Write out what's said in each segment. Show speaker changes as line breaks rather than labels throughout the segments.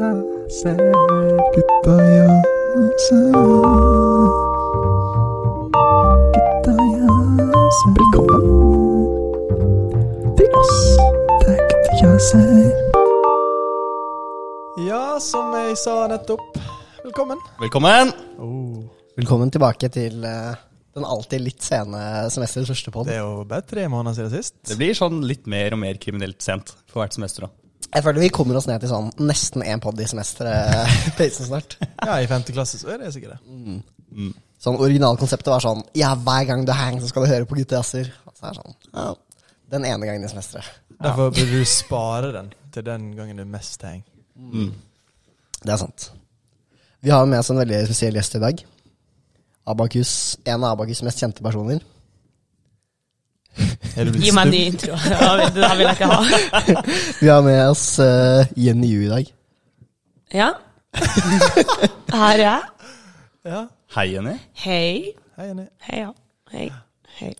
Sær, gutta ja, sær. Gutta ja, sær. Velkommen til oss. Det er gutta ja, sær. Ja, som jeg sa nettopp. Velkommen.
Velkommen!
Velkommen tilbake til eh, den alltid litt sene semesterets første podd.
Det er jo bare tre måneder siden sist.
Det blir sånn litt mer og mer kriminelt sent for hvert semester. da.
Jeg føler vi kommer oss ned til sånn nesten én podd i semesteret-pacen snart.
Ja, i femte klasse så er det sikkert det.
Sånn Originalkonseptet var sånn Ja, hver gang du hang, så skal du høre på guttejazzer. Og så er det sånn ja, Den ene gangen i semesteret.
Derfor burde du spare den til den gangen du mest heng.
Det er sant. Vi har med oss en veldig spesiell gjest i dag. Abakus, En av Abakus' mest kjente personer.
Er du blitt
Gi meg en
stum?
ny intro. Ja, Det der vil jeg ikke ha.
Vi har med oss eh, Jenny Yu i dag.
Ja. Her er jeg.
Ja.
Hei, Jenny.
Hei.
Hei, Jenny.
Hei, ja. Hei. Hei.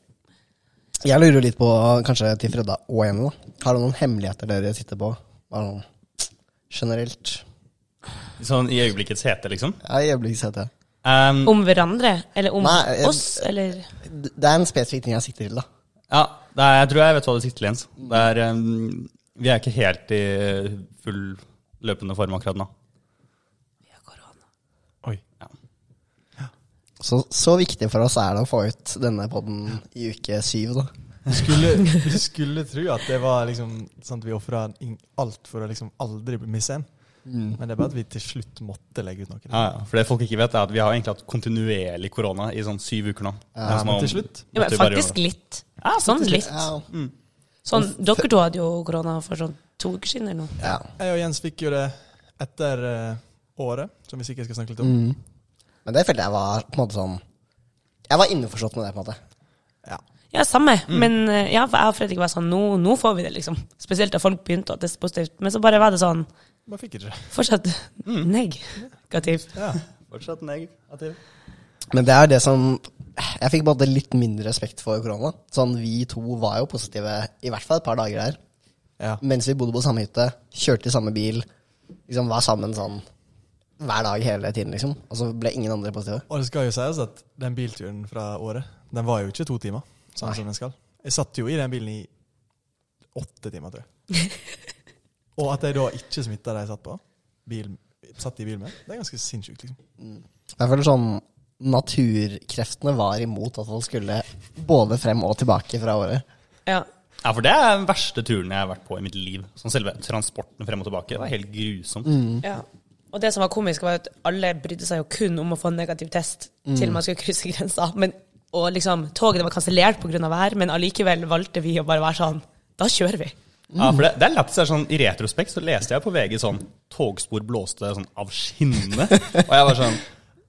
Jeg lurer jo litt på, kanskje til Fredda og Jenny, da. Har du noen hemmeligheter dere sitter på? Bare sånn generelt.
Sånn i øyeblikkets hete, liksom.
Ja, i øyeblikket setter jeg.
Ehm,
Om hverandre? Eller om
Nei, jeg-
oss? Eller
Det er en spesifikk ting jeg sikter til, da.
ja, det er, jeg tror jeg vet hva det sitter til, Jens. Det er, ehm, vi er ikke helt i full løpende form akkurat nå.
Ja, korona.
Oi.
Så, så viktig for oss er det å få ut denne podden i uke syv, da.
Du skulle, du skulle tro at det var liksom sånn at vi ofra alt for å liksom aldri misse en. Men det er bare at vi til slutt måtte legge ut noe.
Ja, ja. For det folk ikke vet, er at vi har egentlig hatt kontinuerlig korona i sånn syv uker nå.
Ja, men til slutt
Ja, men faktisk litt. Sånn litt.
Ja.
Sånn, dere to hadde jo korona for sånn to uker siden eller noe.
ja.
Jeg og Jens fikk jo det etter eh, året, som vi sikkert skal snakke litt om.
Men det følte jeg var på en måte sånn Jeg var innforstått med det, på en måte.
Ja.
Ja, samme.
Mm.
Men eh, ja, for jeg og Fredrik var sånn nå, nå får vi det, liksom. Spesielt da folk begynte å teste positivt. Men så bare var det sånn
Bare fikk ikke det.
fortsatt
Mm.
negativt.
Ja.
Fortsatt negativ.
Men det er det som Jeg fikk på en måte litt mindre respekt for korona. Sånn, vi to var jo positive i hvert fall et par dager der.
Ja.
Mens vi bodde på samme hytte, kjørte i samme bil, liksom var sammen sånn hver dag hele tiden, liksom. Og så ble ingen andre positive.
Og det skal jo sies at den bilturen fra året, den var jo ikke to timer, sånn som den skal. Jeg satt jo i den bilen i åtte timer, tror jeg. Og at jeg da ikke smitta de jeg satt på, bil, satt i bil med, det er ganske sinnssykt, liksom.
Jeg føler sånn Naturkreftene var imot at folk skulle både frem og tilbake fra året.
Ja.
Ja, for det er den verste turen jeg har vært på i mitt liv. Sånn selve transporten frem og tilbake. Det var helt grusomt.
Ja. Og det som var komisk, var at alle brydde seg jo kun om å få en negativ test til man skulle krysse grensa. Men, og liksom, toget var kansellert pga. vær, men allikevel valgte vi å bare være sånn Da kjører vi.
Ja, for det,
Mm.
det er lættis. det er Sånn, I retrospekt så leste jeg på VG sånn Togspor blåste sånn av skinnene. Og jeg var sånn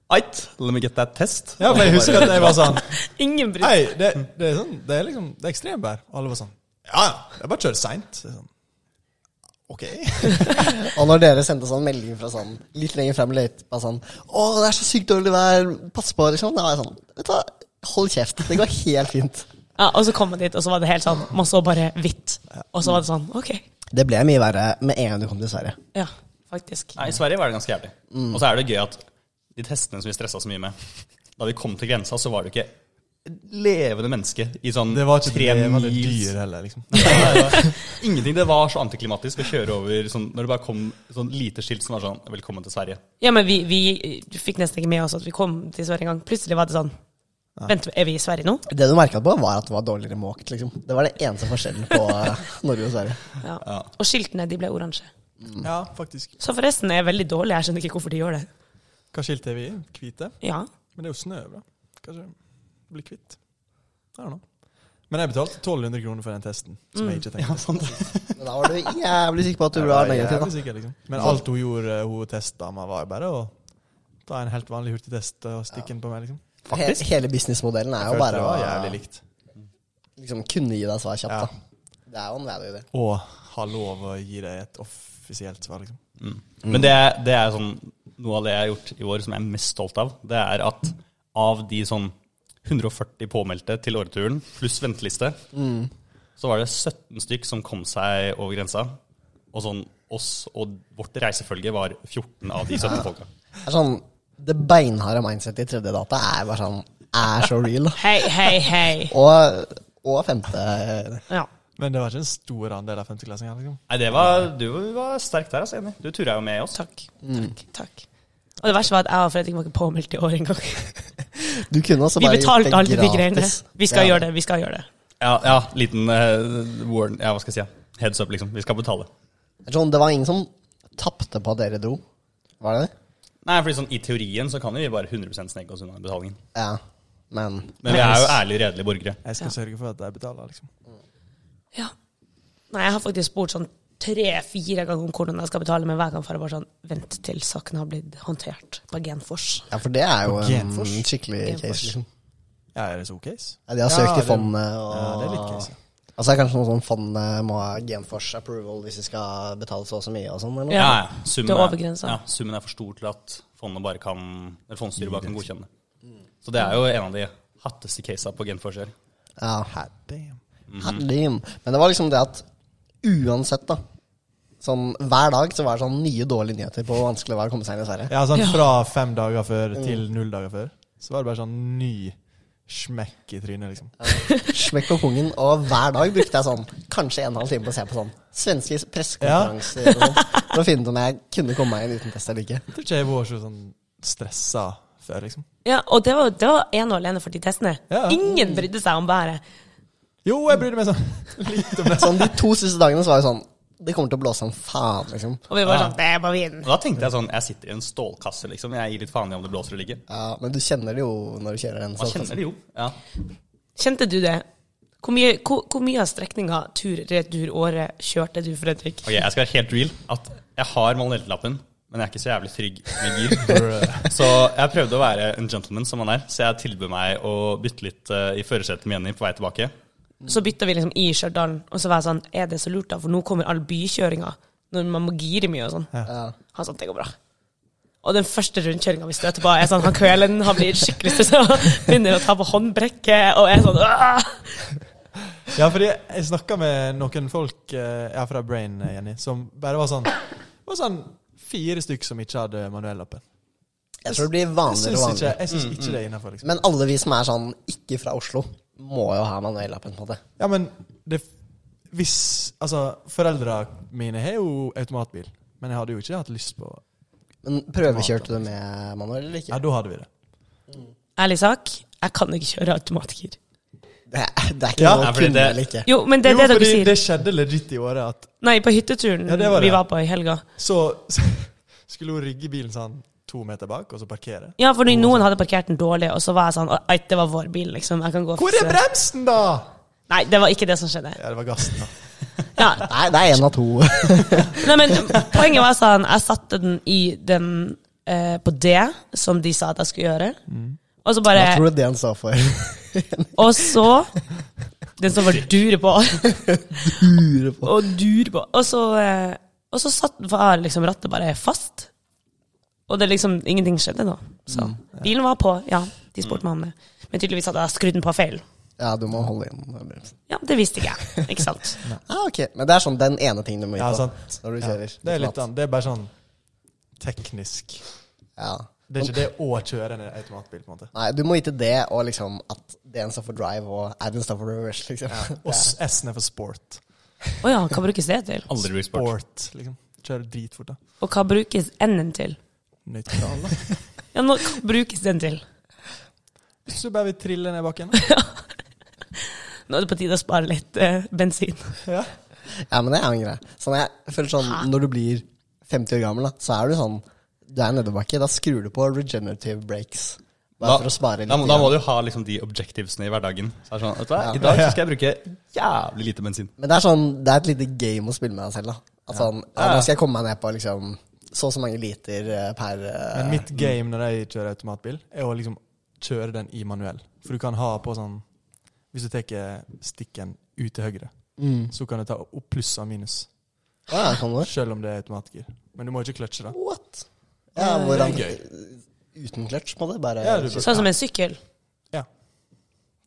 Ait, let me get that test.
Ja, for jeg husker at jeg var sånn
Ingen brydde
Nei, det, det er sånn Det er liksom Det er ekstremvær. Alle var sånn Ja, ja. Det er bare å kjøre seint. Sånn. OK.
Og når dere sendte sånn melding fra sånn litt lenger frem i løypa sånn 'Å, det er så sykt dårlig vær, pass på', liksom. Da var jeg sånn Vet du hva, hold kjeft. Det går helt fint.
Ja, og så kom man dit, og så var det helt sånn Man så bare hvitt. Og så var det sånn OK.
Det ble mye verre med en gang du kom til Sverige.
Ja, faktisk.
Nei, I Sverige var det ganske jævlig.
Mm.
Og så er det gøy at de testene som vi stressa så mye med Da vi kom til grensa, så var det jo ikke et levende menneske i sånn
Det var ikke
tre
drevende
mils-
dyr heller, liksom.
Nei, det var Ingenting. Det var så antiklimatisk å kjøre over sånn, når det bare kom sånn lite skilt som var sånn 'Velkommen til Sverige'.
Ja, men vi, vi eh, fikk nesten ikke med oss at vi kom til Sverige engang. Plutselig var det sånn Vent, er vi i Sverige nå?
Det du merka på, var at det var dårligere måkt, liksom. Det var det eneste forskjellen på eh, Norge og Sverige.
Ja. Og skiltene, de ble oransje.
Ja, faktisk.
Så forresten er jeg veldig dårlig. Jeg skjønner ikke hvorfor de gjør det.
Hva skilt er vi i? Hvite?
Ja.
Men det er jo snø over. da. Kanskje det blir kvitt. I don't know. Men jeg betalte 1200 kroner for den testen, som jeg ikke tenkte.
Men da var du jævlig sikker på at du ble
Jeg er
negativ,
jævlig
da.
sikker, liksom. Men alt hun gjorde, eh, hun testdama, var jo bare å ta en helt vanlig hurtigtest og stikke den på meg, liksom.
He hele businessmodellen er jo
Følte
bare
det
å
var jævlig likt.
liksom, kunne gi deg svar kjapt,
Ja.
da. Det er jo en value, i det.
Og ha lov å gi deg et offisielt svar, liksom.
Men det, er- det er sånn Noe av det jeg har gjort i år som jeg er mest stolt av, det er at av de sånn 140 påmeldte til åreturen, pluss venteliste, så var det 17 stykk som kom seg over grensa. Og sånn oss og vårt reisefølge var 14 av de 17 folka.
Det er sånn, det beinharde mindsetet i tredje data er bare sånn Er så real. da.
Hei, hei, hei.
Og, og femte
Ja.
Men det var ikke en stor andel av femteklassinger. Liksom.
Nei, det var, du var sterk der, altså, enig. Du turra jo med oss.
Takk. Takk. takk. Og det verste var at jeg og Fredrik var ikke påmeldt i år engang.
Du kunne også
Vi
bare gjort
betalte
det
alle de
gratis.
greiene. Vi skal
Ja.
gjøre det, vi skal gjøre det.
Ja, ja liten eh, warn, ja, hva skal jeg si, ja. heads up, liksom. Vi skal betale.
Det er Sånn, det var ingen som tapte på at dere dro. Var det det?
Nei, fordi sånn, I teorien så kan jo vi bare 100 sneke oss unna betalingen.
Ja. Men
Men vi er jo ærlige, redelige borgere.
Jeg skal
Ja.
sørge for at de betaler. Liksom.
Ja. Nei, jeg har faktisk spurt sånn tre-fire ganger om hvordan jeg skal betale, men hver gang får jeg bare sånn Vent til saken har blitt håndtert på Genfors.
Ja, for det er jo
Og
en
Genfors.
skikkelig
Genfors.
case, liksom.
Ja, er det så case?
Ja, de har
Ja,
søkt i
det-
fondet og
Ja, det er litt case. ja.
Altså, det er kanskje noe sånn fondet må ha Genfors approval hvis de skal betale så og så mye og sånn, eller noe?
Ja.
Ja, ja. Summen,
Det er
er-
overgrensa.
Ja, summen er for stor til at fondet bare kan, eller fondsstyret bare kan godkjenne det. Så det er jo en av de hatteste casene på genforskjell.
Ja.
Hot damn.
Herregud. Men det var liksom det at uansett, da Sånn hver dag så var det sånn nye dårlige nyheter på hvor vanskelig det var å komme seg inn i Sverige.
Ja, sånn
Ja.
Fra fem dager før til null dager før. Så var det bare sånn ny smekk i trynet, liksom.
Smekk på pungen, og hver dag brukte jeg sånn kanskje en og en halv time på å se på sånn svenske pressekonferanser og sånn for å finne ut om jeg kunne komme meg inn uten test eller ikke.
Jeg tror ikke jeg var så sånn stressa før, liksom.
Ja, og det var, det var ene og alene for de testene.
Ja.
Ingen brydde seg om bæret.
Jo, jeg brydde meg sånn litt om det.
Sånn De to siste dagene så var det sånn Det kommer til å blåse som faen, liksom.
Og vi var
Ja.
sånn Det er bare vinden.
Og da tenkte jeg sånn, jeg sitter i en stålkasse, liksom. Jeg gir litt faen i om det blåser eller ikke.
Ja, Men du kjenner det jo når du kjører den.
Man
så-
kjenner det jo. Ja.
Kjente du det? Hvor mye, hvor, hvor mye av strekninga tur-retur-året kjørte du, Fredrik?
Ok, jeg skal være helt real at jeg har manuellelappen, men jeg er ikke så jævlig trygg med gir. Så jeg prøvde å være en gentleman som han er, så jeg tilbød meg å bytte litt eh, i førersetet med Jenny på vei tilbake.
Så bytta vi liksom i Stjørdal, og så var jeg sånn Er det så lurt, da? For nå kommer all bykjøringa. Når man må gire mye og sånn.
Ja.
Han sånn Det går bra. Og den første rundkjøringa vi støter på, er sånn Han kvelden han blir skikkelig stressa. Begynner å ta på håndbrekket og er sånn «Åh!»
Ja, fordi jeg snakka med noen folk eh, ja, fra Brain, eh, Jenny, som bare var sånn Det var sånn fire stykk som ikke hadde manuellappen.
Jeg tror det blir
Jeg
vanligere
syns
og
ikke,
vanligere.
jeg syns ikke det er innafor, liksom.
Men alle vi som er sånn ikke fra Oslo, må jo ha manuellappen, på en måte.
Ja, men det Hvis Altså, foreldra mine har jo automatbil, men jeg hadde jo ikke hatt lyst på
Men prøvekjørte du med manuell eller ikke?
Ja, da hadde vi det.
Ærlig sak, jeg kan ikke kjøre automatgir.
Det er, det er ikke
Ja,
noe
ja,
å
fordi
kunne
det-
eller ikke.
Jo, men det er
jo,
det dere
fordi
sier.
det skjedde legit i året at
Nei, på hytteturen
Ja, det var det.
vi var på i helga.
så, så skulle hun rygge bilen sånn to meter bak, og så parkere.
Ja, fordi noen hadde parkert den dårlig, og så var jeg sånn «Oi, det var vår bil, liksom. Jeg kan gå og
Hvor er
fikse-
bremsen, da?!
Nei, det var ikke det som skjedde.
Ja, det var gassen, da.
Ja,
Nei, det er én av to.
Nei, men poenget var sånn Jeg satte den i den eh, på det som de sa at jeg skulle gjøre. Og så bare
Hva tror du det han står for?
Og så Den som var dure på.
Lurer på.
Og dure på. Og så, eh, og så satt, var liksom rattet bare fast. Og det liksom ingenting skjedde nå. Så bilen var på, ja. De spurte meg om det. Men tydeligvis hadde jeg skrudd den på feil.
Ja, du må holde inn bremsen.
Ja, det visste ikke jeg. Ikke sant?
Ah, ok. Men det er sånn den ene tingen du må
Ja,
gjøre på
sant.
når du
Ja,
kjører.
det er litt annet. Det er bare sånn teknisk.
Ja.
Det er ikke det å kjøre en automatbil, på en måte.
Nei, du må vite det, og liksom at D-en står for drive, og R-en står for reverse, liksom.
Og s- S-en er for sport.
Å ja, hva brukes det til?
Aldri blir spurt.
Sport, liksom. Kjører dritfort, da.
Og hva brukes N-en til?
Nøytral, da.
Ja, nå, hva brukes den til?
Hvis du bare vil trille ned bakken.
Nå er det på tide å spare litt eh, bensin.
Ja.
Ja, men det er jo en greie. Sånn, jeg føler sånn, Når du blir 50 år gammel, da, så er du sånn Du er nedoverbakke. Da skrur du på regenerative breaks. Bare for å spare litt.
da, må- da må
igjen.
du ha liksom de objectivesene i hverdagen. Så er det sånn, vet du hva, I dag så skal jeg bruke jævlig lite bensin.
Men det er sånn, det er et lite game å spille med deg selv. da At sånn, ja, Nå skal jeg komme meg ned på liksom så og så mange liter eh, per eh,
Men mitt game når jeg kjører automatbil, er å liksom kjøre den i manuell. For du kan ha på sånn Hvis du tar stikken ut til høyre, så kan du ta opp pluss og minus.
Mm. Å ja, kan du?
Selv om det er automatgir. Men du må ikke kløtsje, da.
What? Ja, hvordan
Det er
Uten kløtsj, på det? Bare
Ja, du bør-
Sånn som en sykkel.
Ja.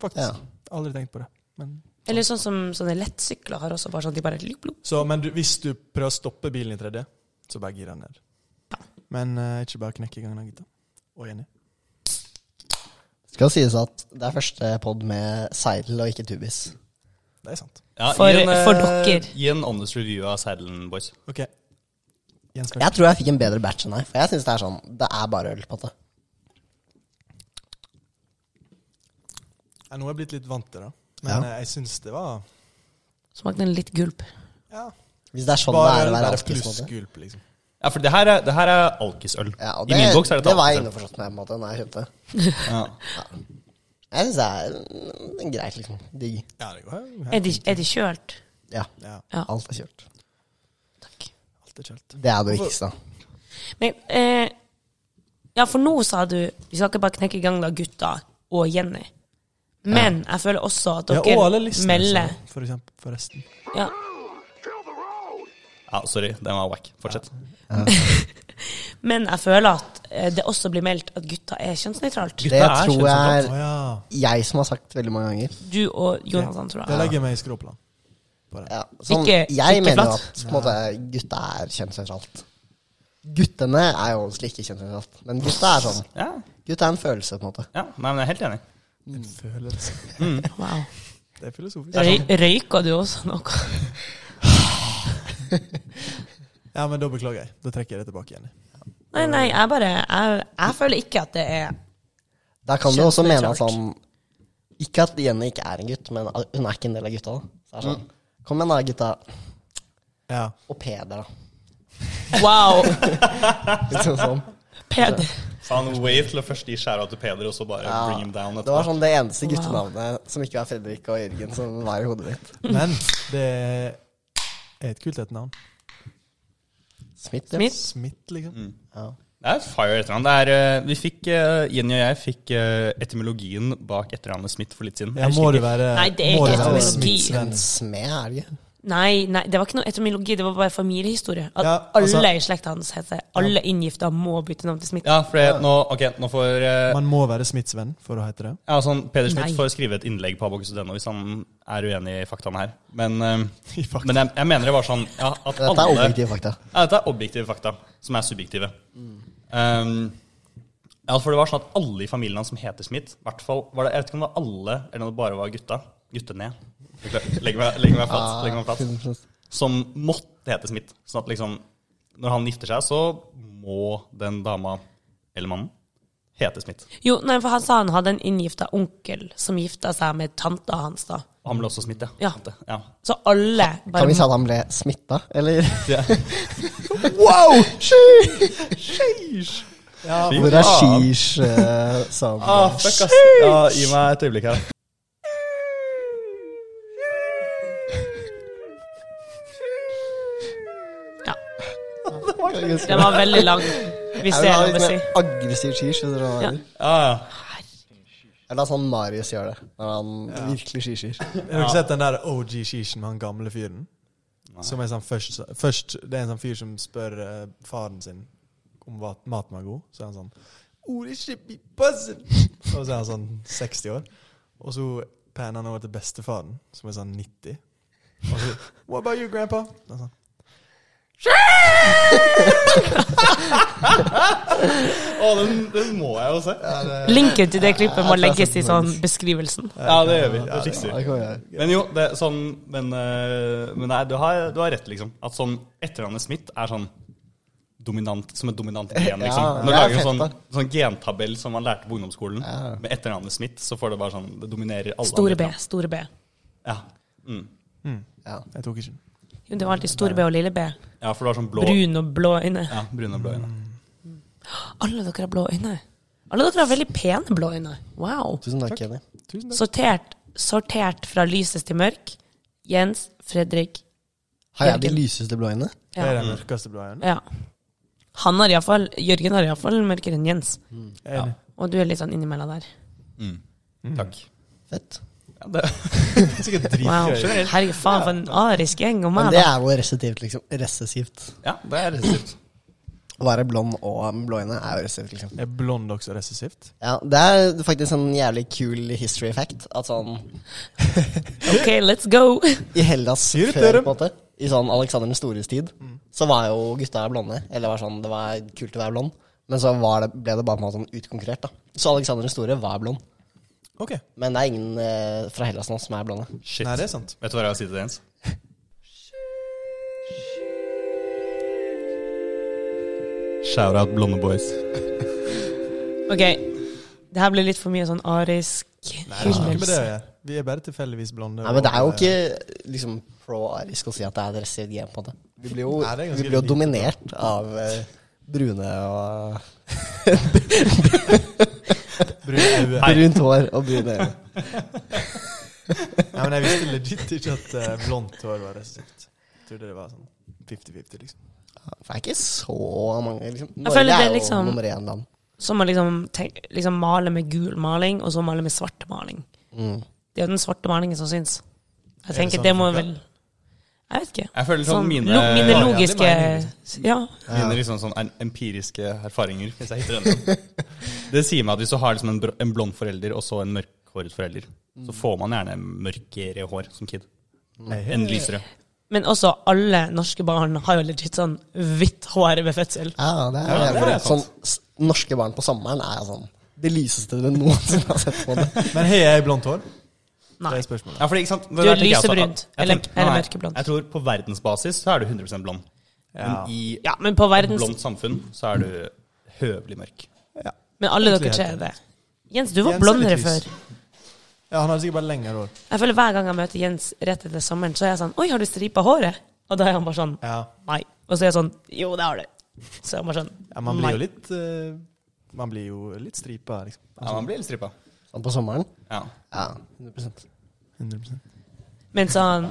Faktisk.
Ja.
Aldri tenkt på det. Men
Eller sånn som sånne lettsykler har også bare sånn, de bare blup, blup.
Så, men du, hvis du prøver å stoppe bilen i 3D, så bare gir den ned. Men eh, ikke bare knekke i gangen av gitta. Og enig.
Skal sies at det er første pod med seidel og ikke tubis.
Det er sant.
Ja,
For-
gi en, eh,
for dere.
Gi en honest review av Seidelen, boys.
OK. Jens Berg.
Jeg tror jeg fikk en bedre batch enn deg, for jeg syns det er sånn Det er bare øl, på en måte.
Ja, nå er jeg blitt litt vant til det. Men
Ja.
eh, jeg syns det var
Smakte den litt gulp.
ja,
Hvis det er sånn det
Bare
er å være
bare
alkis. på en
pluss
måte.
gulp, liksom.
Ja, for det her er, det her er alkisøl.
Ja, og
I min bok så er det
det var jeg
alkisøl.
innforstått med på en måte, når jeg kjøpte. det.
Ja.
Jeg syns det er mm, greit, liksom. Digg.
Ja, det går jo.
Er de, er de kjølt?
Ja.
Ja,
Ja.
Alt er kjørt. Altså,
Takk.
alt er kjølt.
Det er det viktigste.
Men, eh, ja, for nå sa du vi skal ikke bare knekke i gang da gutta og Jenny. Men jeg føler også at
Ja,
dere
og alle listene, altså.
melder
så, for eksempel, forresten.
ja.
ja, sorry. Den var wack. Fortsett.
Men jeg føler at eh, det også blir meldt at gutta er kjønnsnøytralt.
Det
er
tror jeg
Å
er sånn
ja.
jeg som har sagt veldig mange ganger.
Du og Jonathan, sånn tror
Det
jeg.
legger jeg meg i skråplan. På det.
Ja, sånn, jeg
Ikke- ikke
mener jo
flatt.
at på en måte, gutta er kjønnsnøytralt. Guttene er jo egentlig ikke kjønnsnøytralt, men gutta er sånn.
Ja,
Gutta er en følelse, på en måte.
ja. Nei, men jeg er helt enig.
En følelse.
Wow.
Det er sånn. filosofisk.
Røy, røyka du også noe?
Ja, men da beklager jeg. Da trekker jeg det tilbake igjen.
Nei, nei, jeg bare Jeg, jeg føler ikke at det er
Da kan du også mene at
Kjønnsnøytralt.
sånn Ikke at Jenny ikke er en gutt, men at hun er ikke en del av gutta. da. Så det er sånn,
Mm.
Kom igjen, da, gutta.
Ja.
Og Peder, da.
Wow,
Liksom sånn.
Peder.
Faen, way til å først gi skjæra til Peder, og så bare bring him down
Det var
etterpå.
sånn det eneste guttenavnet som ikke var Fredrik og Jørgen, som var i hodet mitt.
Men det er et kult et navn.
Smith. ja.
Smith.
Smith, liksom.
Ja.
Det er fire etternavn. Det er, eh, vi fikk, eh, Jenny og jeg fikk eh, etymologien bak etternavnet Smith for litt siden.
Ja,
Jeg
må
husker
det
ikke.
være
Nei, det er
må
ikke
det være
etymologi.
Smith-Sven?
Men smed er det ikke.
Nei, nei, det var ikke noe etymologi, det var bare familiehistorie. At
Ja, altså-
alle i slekta hans heter Alle inngifta må bytte navn til Smith.
Ja, for det, nå, ok, nå får eh,
Man må være Smith-Sven for å hete det.
ja, sånn, Peder Smith
Nei.
får skrive et innlegg på Abokus Deno hvis han er uenig i faktaene her. Men, eh,
I fakta.
men jeg, jeg mener det var sånn ja, at
Dette er
alle
objektive Mm. fakta.
Ja, dette er objektive fakta, som er subjektive. Um, ja, for det var sånn at alle i familien hans som heter Smith, i hvert fall var det, Jeg vet ikke om det var alle, eller om det bare var gutta. Guttene. Legg meg, legg meg flat. legg meg
Ah,
flat. Som måtte hete Smith. Sånn at liksom Når han gifter seg, så må den dama, eller mannen, hete Smith.
Jo, nei, for han sa han hadde en inngifta onkel som gifta seg med tanta hans, da.
Og han ble også Smith,
Ja.
Sant det? ja.
Så alle bare
Kan vi si at han ble smitta, eller?
Wow!
Ja,
Hvor er sheesh eh, som
Ah, fuck, ass. Ja, gi meg et øyeblikk her.
Ja,
Det var ganske
den var veldig lang, hvis
Jeg
det
vil
er
ha
lov
litt
å si.
mer aggressiv sheesh. hvis dere har
Ja.
det.
Ja, ja.
Eller sånn Marius gjør det, når han virkelig sheesher.
Har dere sett den der OG Sheeshen med han gamle fyren? Som er sånn først, først Det er en sånn fyr som spør eh, faren sin om hva- maten var god. Så er han sånn «Oh, det er ikke min puzzle!» Og så er han sånn 60 år. Og så panner han over til bestefaren, som er sånn 90. Og så What about you, grandpa? Og sånn.
Å, den, den må jeg jo se.
Linken til det klippet
Ja,
må
det er
legges i
sant.
sånn beskrivelsen.
Ja, det gjør vi. Det fikser vi.
Det kommer jeg.
Men jo, det er sånn Men, eh, men nei, du har, du har rett, liksom. At sånn etternavnet Smith er sånn dominant, som et dominant gen, liksom. Når
Ja,
du
det er
lager en
fett,
sånn,
da.
sånn gentabell som man lærte på ungdomsskolen,
Ja.
med etternavnet Smith, så får det bare sånn Det dominerer alle.
Store B.
andre.
Store B.
Ja. Mm.
Ja.
Jeg tok ikke den.
Jo, det var alltid store B og lille B.
ja, for du har sånn blå
Brun og blå øyne.
Ja, brune og blå øyne.
Alle dere har blå øyne. Alle dere har veldig pene blå øyne. Wow.
Tusen takk, Kenny.
Tusen takk.
Sortert, sortert fra lysest til mørk. Jens, Fredrik
Har jeg de lyseste blå øynene?
Det er
Ja.
den mørkeste blå øynene.
ja. Han har iallfall Jørgen har iallfall mørkere enn Jens.
Jeg er enig.
Og du er litt sånn innimellom der.
Mm. Takk.
Fett.
Ja, det,
Mm. Det er Sikkert
Wow.
dritgøy.
Herregud, faen, for en arisk gjeng. Og
Men
meg,
det
da.
er jo resessivt, liksom. Resessivt.
ja, det er resessivt.
Å være blond og blå øyne er jo resivt, liksom.
Er blond også resessivt?
Ja, det er faktisk en jævlig kul history fact. At sånn
OK, let's go!
I Hellas
Sier
før,
det
på
til dem.
en måte, i sånn Alexander den stores tid, så var jo gutta blonde. Eller var sånn, det var kult å være blond. Men så var det, ble det bare på en måte sånn utkonkurrert, da. Så Alexander den store var blond.
Ok.
Men det er ingen eh, fra Hellas nå som er blonde.
Shit.
Nei, det er sant.
Vet du hva jeg har å si til det, Jens? Shout-out Blonde Boys.
OK. Det her ble litt for mye sånn arisk
Nei, det har ikke med det
hyllelse.
å gjøre. Vi er bare tilfeldigvis blonde.
Nei, men det er jo
og, eh,
ikke liksom pro-arisk å si at det er et resivt game, på en måte. Vi blir jo,
Nei, det er ganske
vi blir jo
lite.
dominert av eh, brune og
brune øyne.
Brunt hår og brune øyne.
Nei, men jeg visste legit ikke at eh, blondt hår var resessivt. Jeg trodde det var sånn 50-50, liksom.
Det er ikke så mange, liksom. Norge
føler det
er jo
liksom-
nummer én land.
Så man liksom, tenk, liksom maler med gul maling, og så maler med svart maling.
Mm.
Det er jo den svarte malingen som syns. Jeg
det
tenker
sånn
det
det
må
funker?
vel Jeg vet ikke.
Jeg føler sånn mine-
lo, mine
Ja, ja, det
logiske
mener jeg,
Ja.
Mine liksom sånn en- empiriske erfaringer, hvis jeg hitter den. Det sier meg at hvis du har liksom en, br- en blond forelder og så en mørkhåret forelder,
Mm.
så får man gjerne mørkere hår som kid. Enn lysere.
Men også alle norske barn har jo legit sånn hvitt hår ved fødsel.
Ja, det er,
Ja,
jævlig
det er
sånn,
sant.
s- Norske barn på sommeren er sånn det lyseste du noensinne har sett på det.
Men har jeg blondt hår? Det
Nei.
er spørsmålet.
Ja, fordi, ikke sant? Det
Du
der
er
tenker jeg også at-
lysebrunt,
jeg
eller-
tenker-
eller
nei,
mørkeblond.
Jeg tror på verdensbasis så er du 100 blond.
Ja.
Men i
Ja, men på
et
verdens
blondt samfunn så er du høvelig mørk.
Ja.
Men alle dere
Egentlig
tre
helt
er det. Jens, du var
Jens er
blondere
litt lys.
før.
ja, han hadde sikkert bare lengre hår.
Jeg føler Hver gang jeg møter Jens rett etter sommeren, så er jeg sånn Oi, har du stripa håret? Og da er han bare sånn
Ja.
Nei. Og så er jeg sånn Jo, det har du. Så er han bare sånn
ja man blir
«Nei».
jo litt eh, Man blir jo litt stripa, liksom.
Ja, man blir litt strippa.
Sånn på sommeren?
Ja.
Ja, 100
100
Men sånn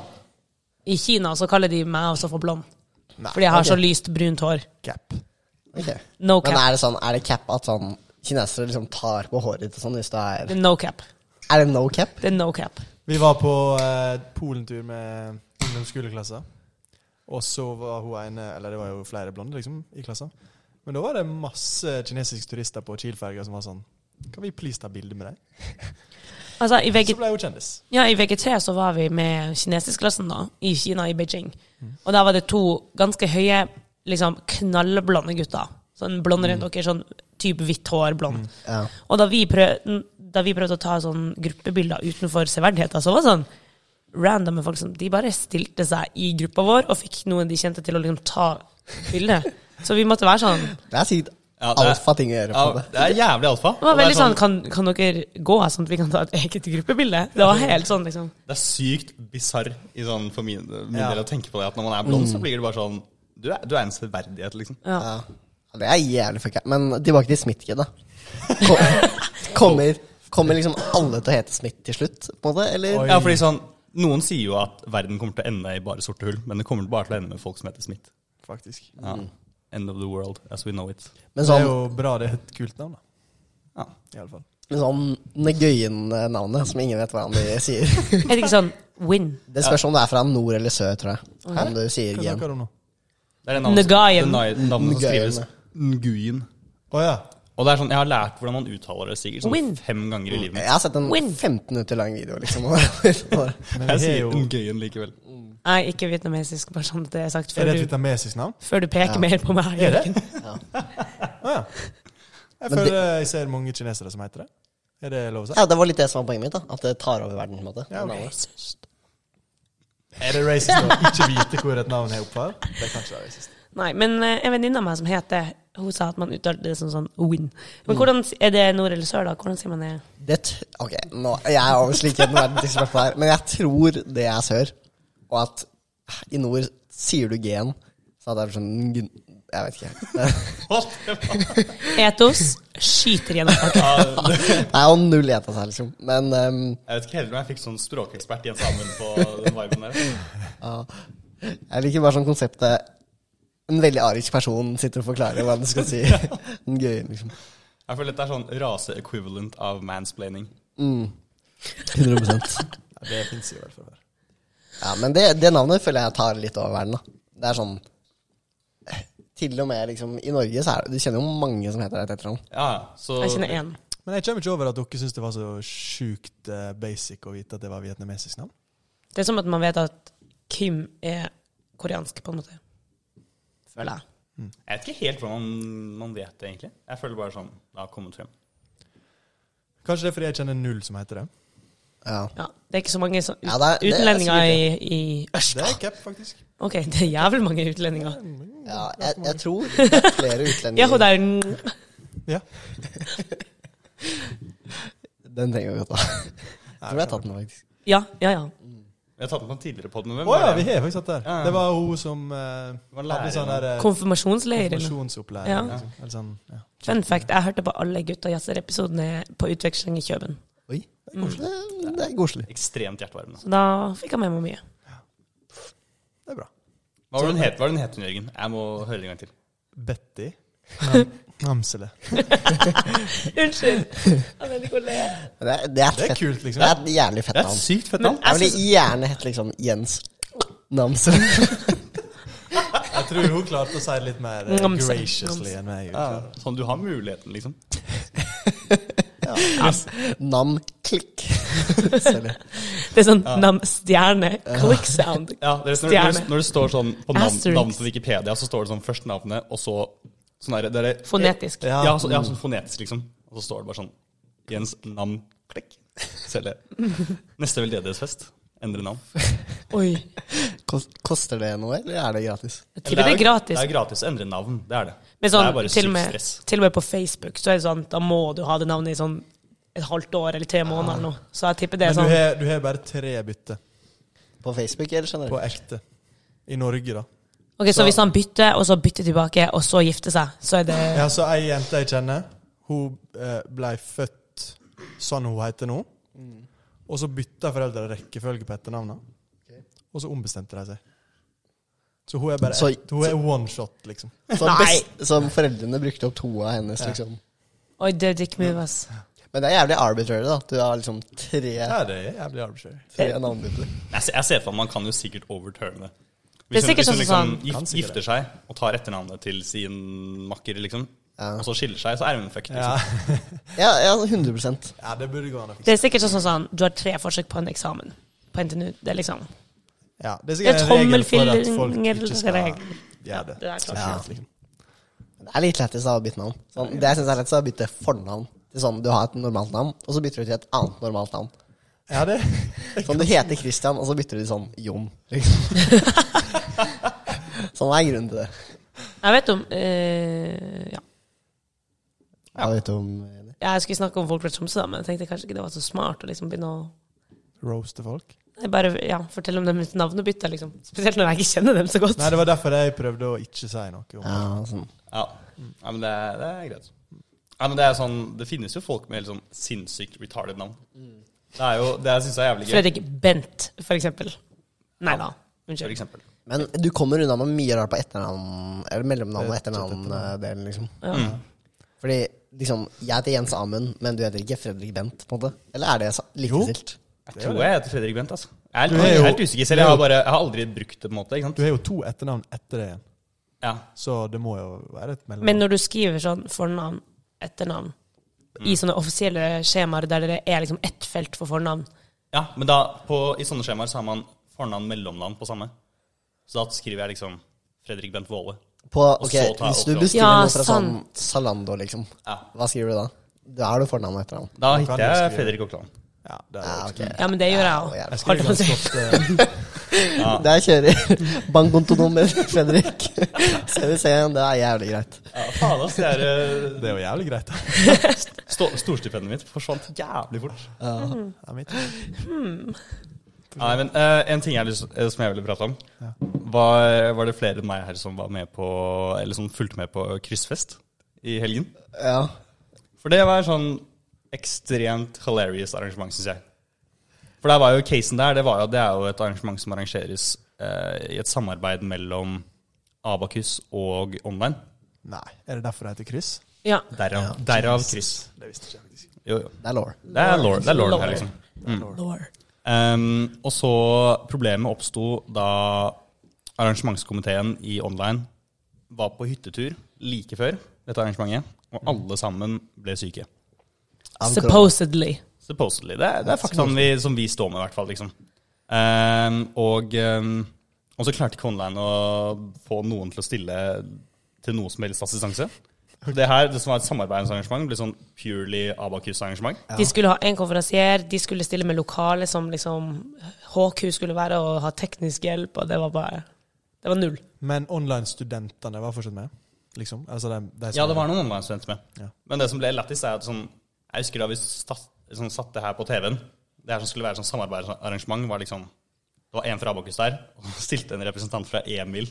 I Kina så kaller de meg også for blond.
Nei,
fordi jeg har
ok.
så lyst brunt hår.
Cap.
Ok.
No
Men
cap.
er det sånn, er det cap at sånn kinesere liksom tar på håret ditt og sånn hvis du er
Det er no cap.
Er det no cap?
Det er no cap.
Vi var på eh, polentur med ungdomsskoleklassa. Og så var hun ene Eller det var jo flere blonde liksom, i klassa. Men da var det masse kinesiske turister på Kiel-ferga som var sånn Kan vi please ta bilde med deg?
Altså, i VG
Så ble hun kjendis.
Ja, i VG3 så var vi med kinesiskklassen da, i Kina, i Beijing.
Mm.
Og der var det to ganske høye, liksom knallblonde gutter. Sånn blonde
Mm.
rundt dere, sånn type hvitt hår, blond.
Ja.
Og da vi, prøv, da vi prøvde å ta sånn gruppebilder utenfor severdigheter, så var det sånn random folk som De bare stilte seg i gruppa vår og fikk noen de kjente til å liksom ta bilde. Så vi måtte være sånn Det
Det er sikkert
Ja, det er-
alfa ting å gjøre på
Ja,
det.
det er jævlig alfa.
var
Og det er
veldig sånn Kan, kan dere gå, sånn at vi kan ta et eget gruppebilde? Det var helt sånn, liksom.
Det er sykt bisarr i sånn, for min, min
Ja.
del å tenke på det. At når man er blond,
Mm.
så blir det bare sånn Du er, du er en severdighet, liksom.
Ja.
Ja. Det er jævlig fucka. Men tilbake til Smith-kid, da. Kom- Kommer, kommer liksom alle til å hete Smith til slutt, på en måte? Eller?
Oi.
Ja, fordi sånn Noen sier jo at verden kommer til å ende i bare sorte hull, men det kommer bare til å ende med folk som heter Smith.
Faktisk.
Ja. End of the world as we know it.
Men
Det er
sånn,
jo bra det er et kult navn, da.
Ja.
I alle fall.
men sånn Negøyen-navnet, som ingen vet hva han sier.
Er det ikke sånn win?
Det spørs om det er fra nord eller sør, tror jeg. Om du sier
Hva
gen.
snakker du om nå?
Det er det navnet,
Nguyen.
som- det na- navnet som
Nguyen.
skrives Nguyen.
Å ja.
Og det er sånn, jeg har lært hvordan man uttaler det sikkert sånn
Win.
fem ganger i livet
Jeg
mitt.
har sett en
Win.
15 minutter lang video, liksom. Nei,
Men
Jeg
vi har
sier
jo
Nguyen likevel.
Nei, ikke vietnamesisk, bare sånn at det er sagt
Er
før
det et
du,
vietnamesisk navn?
før du peker mer på meg.
Er det?
Jørgen.
Å ja. Jeg
Men
føler jeg ser mange kinesere som heter det. Er det lov å si?
Ja, det var litt det som var poenget mitt, da. At det tar over verden, på en måte.
Ja, ok.
Navnet.
Er det racist å ikke vite hvor et navn er opphav? Det kan ikke være racist.
Nei, men eh, en venninne av meg som heter Hun sa at man uttalte det som sånn win. Men hvordan s- er det nord eller sør, da? Hvordan sier man det?
Det t ok, nå, jeg er obviously ikke en verdensekspert på det her, men jeg tror det er sør. Og at i nord sier du gen, så at det er sånn gun- Jeg vet ikke.
Etos skyter gjennom alt.
Ja, det-
Det er jo null etas her, liksom. Men ehm,
Jeg vet ikke heller om jeg fikk sånn språkekspert Jens Amund på den viben der.
jeg liker bare sånn konseptet en veldig arisk person sitter og forklarer hva den skal si. Den gøye, liksom.
Jeg føler dette er sånn rase-equivalent av mansplaining.
Mm. 100
Ja, det fins i hvert fall. her.
Ja, men det, det navnet føler jeg tar litt over verden, da. Det er sånn Til og med liksom, i Norge så er det Du kjenner jo mange som heter det etter ham.
Ja, ja, så
Jeg kjenner én.
Men jeg kommer ikke over at dere syns det var så sjukt eh, basic å vite at det var vietnamesisk navn.
Det er som at man vet at Kim er koreansk, på en måte. Føler jeg.
Jeg vet ikke helt hvordan man, man vet det, egentlig. Jeg føler bare sånn Det har kommet frem.
Kanskje det er fordi jeg kjenner null som heter det.
Ja.
Ja, det er ikke så mange som,
Ja, det er- det er
utlendinger
sikkert
i, i øst.
Det er cap, faktisk.
Ok, det er jævlig mange utlendinger.
ja jeg, jeg tror det er flere
Ja, hun
utlendinger.
der
Ja.
Den trenger vi å ta. Jeg tror jeg har tatt den, faktisk.
Ja, ja, ja.
Vi har tatt den på en tidligere pod, men
Å
hvem
ja,
var det?
vi har faktisk hatt det.
Ja.
Det var hun som eh,
var
hadde
læreren.
sånn der eh,
Konfirmasjonsleir. eller noe.
konfirmasjonsopplæring.
Ja.
Liksom. Eller sånn, ja.
Fun fact, jeg hørte på alle gutta jazzer-episodene på utveksling i Kjøben.
Oi, det er koselig. Det- Det er koselig.
Ekstremt hjertevarmende.
Så da fikk jeg med meg mye.
Det er bra.
Hva var det hun het, hva var det hun, het, hun, Jørgen? Jeg må høre det en gang til.
Betty. Nam- Namsele.
Unnskyld! Jeg vet ikke å le.
Det er, det er,
Det er
fett.
kult, liksom.
Det er et jævlig fett
Det er
navn.
et sykt fett navn.
Jeg ville gjerne hett liksom Jens Namsen.
Jeg tror hun klarte å si det litt mer eh,
Namse.
graciously enn meg.
Ja, Sånn, du har muligheten, liksom.
Nam Klikk.
Det er sånn nam stjerne click sound.
Ja, det er, når, når,
Stjerne.
det- når det står sånn på navn,
Asterisk.
navnet på Wikipedia, så står det sånn først navnet, og så sånn der, det er det-
Fonetisk.
Ja, ja, så, ja, sånn fonetisk, liksom. Og så står det bare sånn Jens Nam Klikk. Selge. Neste veldedighetsfest. Endre navn.
Oi.
Kos- Koster det noe, eller er det gratis?
Jeg tipper det er gratis.
Det er gratis å endre navn. Det er det.
Men
det er bare
sånn, til, og
sykt
med,
stress.
til og med på Facebook så er det sånn, da må du ha det navnet i sånn et halvt år eller tre måneder eller noe. Så jeg tipper det er
Men du
sånn.
har, du har bare tre bytter.
På Facebook, eller generelt?
På ekte. I Norge, da.
Ok, så hvis han bytter, og så bytter tilbake, og så gifter seg, så er det
Ja, så Ei jente jeg kjenner, hun eh, ble født sånn hun heter nå. Og så bytta foreldre rekkefølge på etternavnet. Og så ombestemte de seg. Så hun er bare
Så-
ett, hun er one shot, liksom.
Som, best, som foreldrene brukte opp to av hennes, liksom.
Oi, det er dick move, ass.
Men det er jævlig arbitrary, da. at Du har liksom tre,
Ja, det er jævlig arbitrary.
tre navnbytter.
Jeg, ser- jeg ser for meg man kan jo sikkert overturne det.
Det er sikkert
hun, hvis hun
sånn-
liksom gif-
Kan sikkert
gifter seg og tar etternavnet til sin makker, liksom,
Ja.
og så skiller seg, så er hun fucked.
Ja,
Liksom.
Ja, ja, sånn 100
ja det burde gå an å fikse.
Det er sikkert sånn som sånn, du har tre forsøk på en eksamen på NTNU. Det er liksom
Ja, det er
Det
sikkert en
er
regel for at folk ikke skal
tommelfingerregel. Ja,
gjøre
det
det.
er klart.
Sannsynligvis, liksom.
Det er litt lettest da, å bytte navn. Sånn, det jeg synes er lettest, er å bytte fornavn. Til sånn, Du har et normalt navn, og så bytter du til et annet normalt navn.
Ja, det
Sånn, Du heter Christian, og så bytter du til sånn Jon. Liksom. sånn er grunnen til det.
Jeg vet om eh, ja.
Jeg vet om Enig.
Jeg skulle snakke om folk fra Tromsø, da, men jeg tenkte kanskje ikke det var så smart å liksom begynne å
Roaste folk.
Nei, bare ja, fortelle om dem uten navnebytte, liksom. Spesielt når jeg ikke kjenner dem så godt.
Nei, det var derfor jeg prøvde å ikke si noe om det.
Ja, sånn.
Ja. ja, men det er, det er greit. Ja, men det, er sånn, det finnes jo folk med helt sånn sinnssykt retarded navn. Det er jo, det syns jeg er jævlig gøy.
Fredrik Bent, for eksempel. Nei da.
For
Unnskyld.
eksempel.
Men du kommer unna med mye rart på etternavn, eller mellomnavn og
Det er tett
etternavn-delen, liksom.
Ja.
Mm.
Fordi liksom, jeg heter Jens Amund, men du heter ikke Fredrik Bent, på en måte? Eller er det sa-
Jo.
likestilt?
Jeg tror jeg heter Fredrik Bent, altså. Jeg er,
Du er jo-
helt usikker selv. Jeg har, bare, jeg har aldri brukt det, på en måte. ikke
Du
sant?
har jo to etternavn etter det igjen,
Ja.
så det må jo være et mellomnavn.
Men når du skriver sånn fornavn, etternavn, i sånne offisielle skjemaer der det er liksom ett felt for fornavn
ja, men da, på, i sånne skjemaer så har man fornavn mellomnavn på samme. Så da skriver jeg liksom Fredrik Bent Våle.
På, ok,
så tar jeg
hvis du
opp-
bestiller
Ja,
noe fra sånn
sant.
Zalando, liksom,
Ja.
hva skriver du da? Da har du fornavn og etternavn.
Da
Man kan
hitter
jo
jeg
skrive-
Fredrik Okland.
Ja, det er
Ja,
også-
ok.
Ja, men det gjør
Å,
jeg òg.
jævlig.
Jeg skriver ganske ofte
Der kjører bankkontonummer Fredrik. CVC-en, det er jævlig greit.
Ja, faen, ass. Det er eh,
Det er jo jævlig greit, da.
Sto- Storstipendet mitt forsvant jævlig fort.
Ja, mitt.
Nei, men eh, En ting jeg, har lyst- eh, som jeg ville prate om, var, var det flere enn meg her som var med på Eller som fulgte med på kryssfest i helgen.
Ja.
For det var sånn ekstremt hilarious arrangement, syns jeg. For der var jo casen der, det, var jo, det er jo et arrangement som arrangeres eh, i et samarbeid mellom Abakus og Online.
Nei, er det derfor det heter kryss?
Ja.
Derav, derav kryss.
Det visste ikke jeg faktisk.
Jo, jo.
Det er law.
Det er lore, det er lore her,
Lore.
liksom.
Lore.
Ehm, og så problemet oppsto da arrangementskomiteen i online var på hyttetur like før dette arrangementet, og alle sammen ble syke.
Av korona.
Supposedly.
Supposedly. Det, er- det er faktaen vi, som vi står med, i hvert fall. Liksom. Ehm, og, ehm, og så klarte ikke Online å få noen til å stille til noe som helst assistanse. Det her, det som var et samarbeidsarrangement, ble sånn purely Abakus-arrangement.
De skulle ha en konferansier, de skulle stille med lokale som liksom HQ skulle være, og ha teknisk hjelp, og det var bare Det var null.
Men online-studentene var fortsatt med? Liksom? Altså de, de som-
Ja, det var noen online-studenter med.
Ja.
Men det som ble lættis, er at sånn, jeg husker da vi satt, sånn, satt det her på TV-en Det her som skulle være sånn samarbeidsarrangement, var liksom Det var en fra Abakus der, og så stilte en representant fra Emil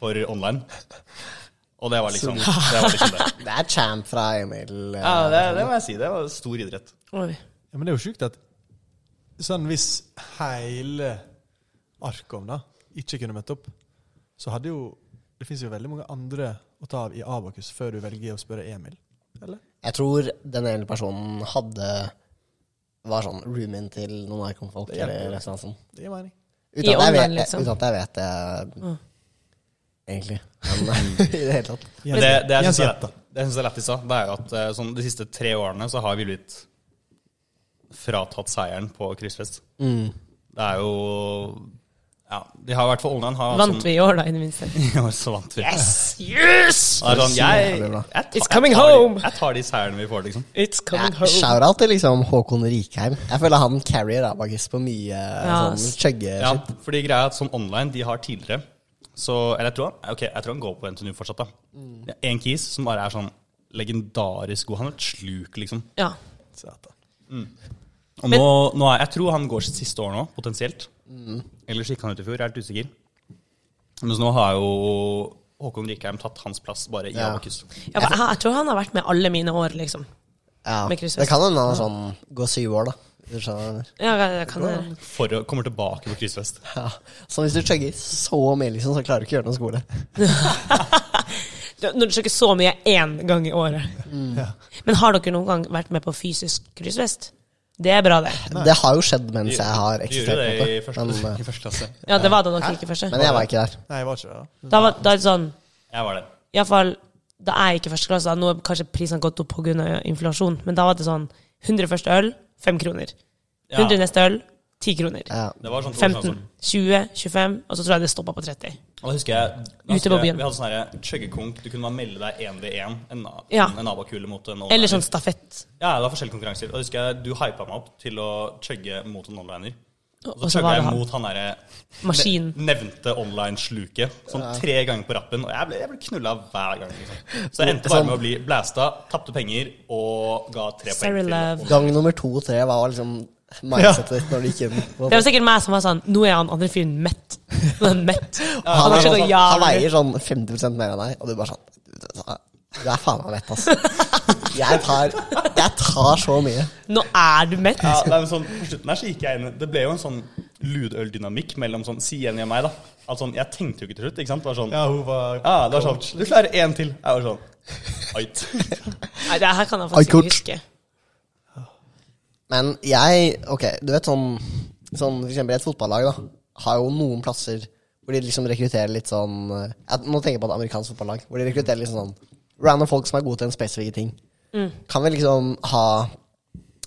for online. Og det var liksom det. Var liksom det.
Det er champ fra Emil. eh,
Ja, det, det må jeg si. Det var stor idrett.
Oi.
Ja, men det er jo sjukt at sånn hvis hele Arkom da ikke kunne møtt opp, så hadde jo Det fins jo veldig mange andre å ta av i Abakus før du velger å spørre Emil, eller?
Jeg tror den ene personen hadde Var sånn roomien til noen narkomfolk
Det hjelper jo.
eller et eller annet sånt.
Det gir mening.
Uten
I
at jeg
online,
vet,
liksom.
uten at jeg vet det, egentlig. Men
Mm.
i det hele tatt.
Det, det jeg
Jens
syns er,
Jetta.
det jeg synes er lættis, da, det er jo at eh, sånn, de siste tre årene så har vi blitt fratatt seieren på kryssfest. Det er jo Ja, de har i hvert fall Olnan har hatt sånn-
Ah, Vant vi i år, da, i det minste?
I år så vant vi.
Yes! Yes!
Det er sånn, jeg,
Jævlig
jeg,
bra.
tar,
It's coming
jeg, tar,
home!
de- jeg tar de seierne vi får, liksom.
It's coming
Ja,
home.
Shout-out til liksom Håkon Rikheim. Jeg føler han carrier Abacus på mye
Ja,
sånn
ass.
Ja,
chugge-shit.
fordi greia er at sånn online, de har tidligere Så, eller jeg tror han Ok, jeg tror han går på NTNU fortsatt, da.
Mm.
Det er En kis som bare er sånn legendarisk god. Han er et sluk, liksom.
Ja.
Satan.
Og
Men-
nå, nå er, jeg tror han går sitt siste år nå, potensielt.
Mm.
Ellers gikk han ut i fjor, jeg er litt usikker. Mens nå har jo Håkon Rikheim tatt hans plass bare i
Ja.
Abakus.
Ja, for jeg, jeg tror han har vært med alle mine år, liksom.
Ja.
Med kryssfest.
Det kan hende han sånn går syv år, da. Hvis du skjønner hva jeg mener.
Ja, jeg, jeg kan det.
For å kommer tilbake på kryssfest.
Ja. Så hvis du chugger så mye, liksom, så klarer du ikke å gjøre noe skole.
Du- Når du søker så mye én gang i året.
Mm.
Ja.
Men har dere noen gang vært med på fysisk kryssfest? Det er bra, det.
Det har jo skjedd mens
De-
jeg har
de
eksistert.
gjorde
på
det i
en måte.
første,
Men,
i første klasse.
Ja, det var da dere gikk i
eh,
første.
men jeg var ikke der.
Nei, jeg var ikke det. da.
Da var da er det sånn
Jeg var det.
Iallfall da jeg gikk i første klasse, nå er kanskje prisene gått opp pga. inflasjon, men da var det sånn 100 første øl, 5 kroner. 100 neste øl, 10 kroner.
Ja.
Det var sånn
15, 20, 25, og så tror jeg det stoppa på 30.
Og da husker jeg, da
Mm. Ute
husker
på
jeg
byen.
Vi hadde sånn her chuggekonk. Du kunne bare melde deg én ved én. En, na-
Ja.
en nabokule mot en
Eller sånn
onliner.
stafett.
Ja, det var forskjellige konkurranser. Og da husker jeg du hypa meg opp til å chugge mot en onliner. Og
Og
så
så var
chugga
det
jeg
han.
mot han derre
Maskin.
nevnte online-sluket sånn tre ganger på rappen. Og jeg ble, jeg ble knulla hver gang. Liksom. Så jeg endte
Sånn.
bare med å bli blæsta, tapte penger og ga tre
Sarah
poeng til.
Love.
Gang nummer to og tre var liksom mindsetet ditt når du gikk inn. På.
Det var sikkert meg som var sånn Nå er han andre fyren mett. Nå er Han mett.
Han,
Han har
er
ikke
sånn,
noe
han
jævlig.
veier sånn 50 mer enn deg, og du bare sånn Du er faen meg mett, altså. Jeg tar, jeg tar så mye.
Nå er du mett.
Ja, det er jo sånn, på slutten her så gikk jeg inn Det ble jo en sånn ludøldynamikk mellom sånn Si igjen og meg, da. At sånn, Jeg tenkte jo ikke til slutt. ikke sant? Det var sånn
Ja, hun var
Ja, det var sånn Du klarer én til. Jeg var sånn Ait.
Nei, det her kan jeg faktisk
Oi,
ikke
kort.
huske.
Men jeg Ok, du vet sånn, sånn For eksempel et fotballag, da. Har jo noen plasser hvor de liksom rekrutterer litt sånn eh, jeg, Nå tenker jeg på et amerikansk fotballag. Hvor de rekrutterer liksom sånn random folk som er gode til en spesifikke ting. Kan vi liksom ha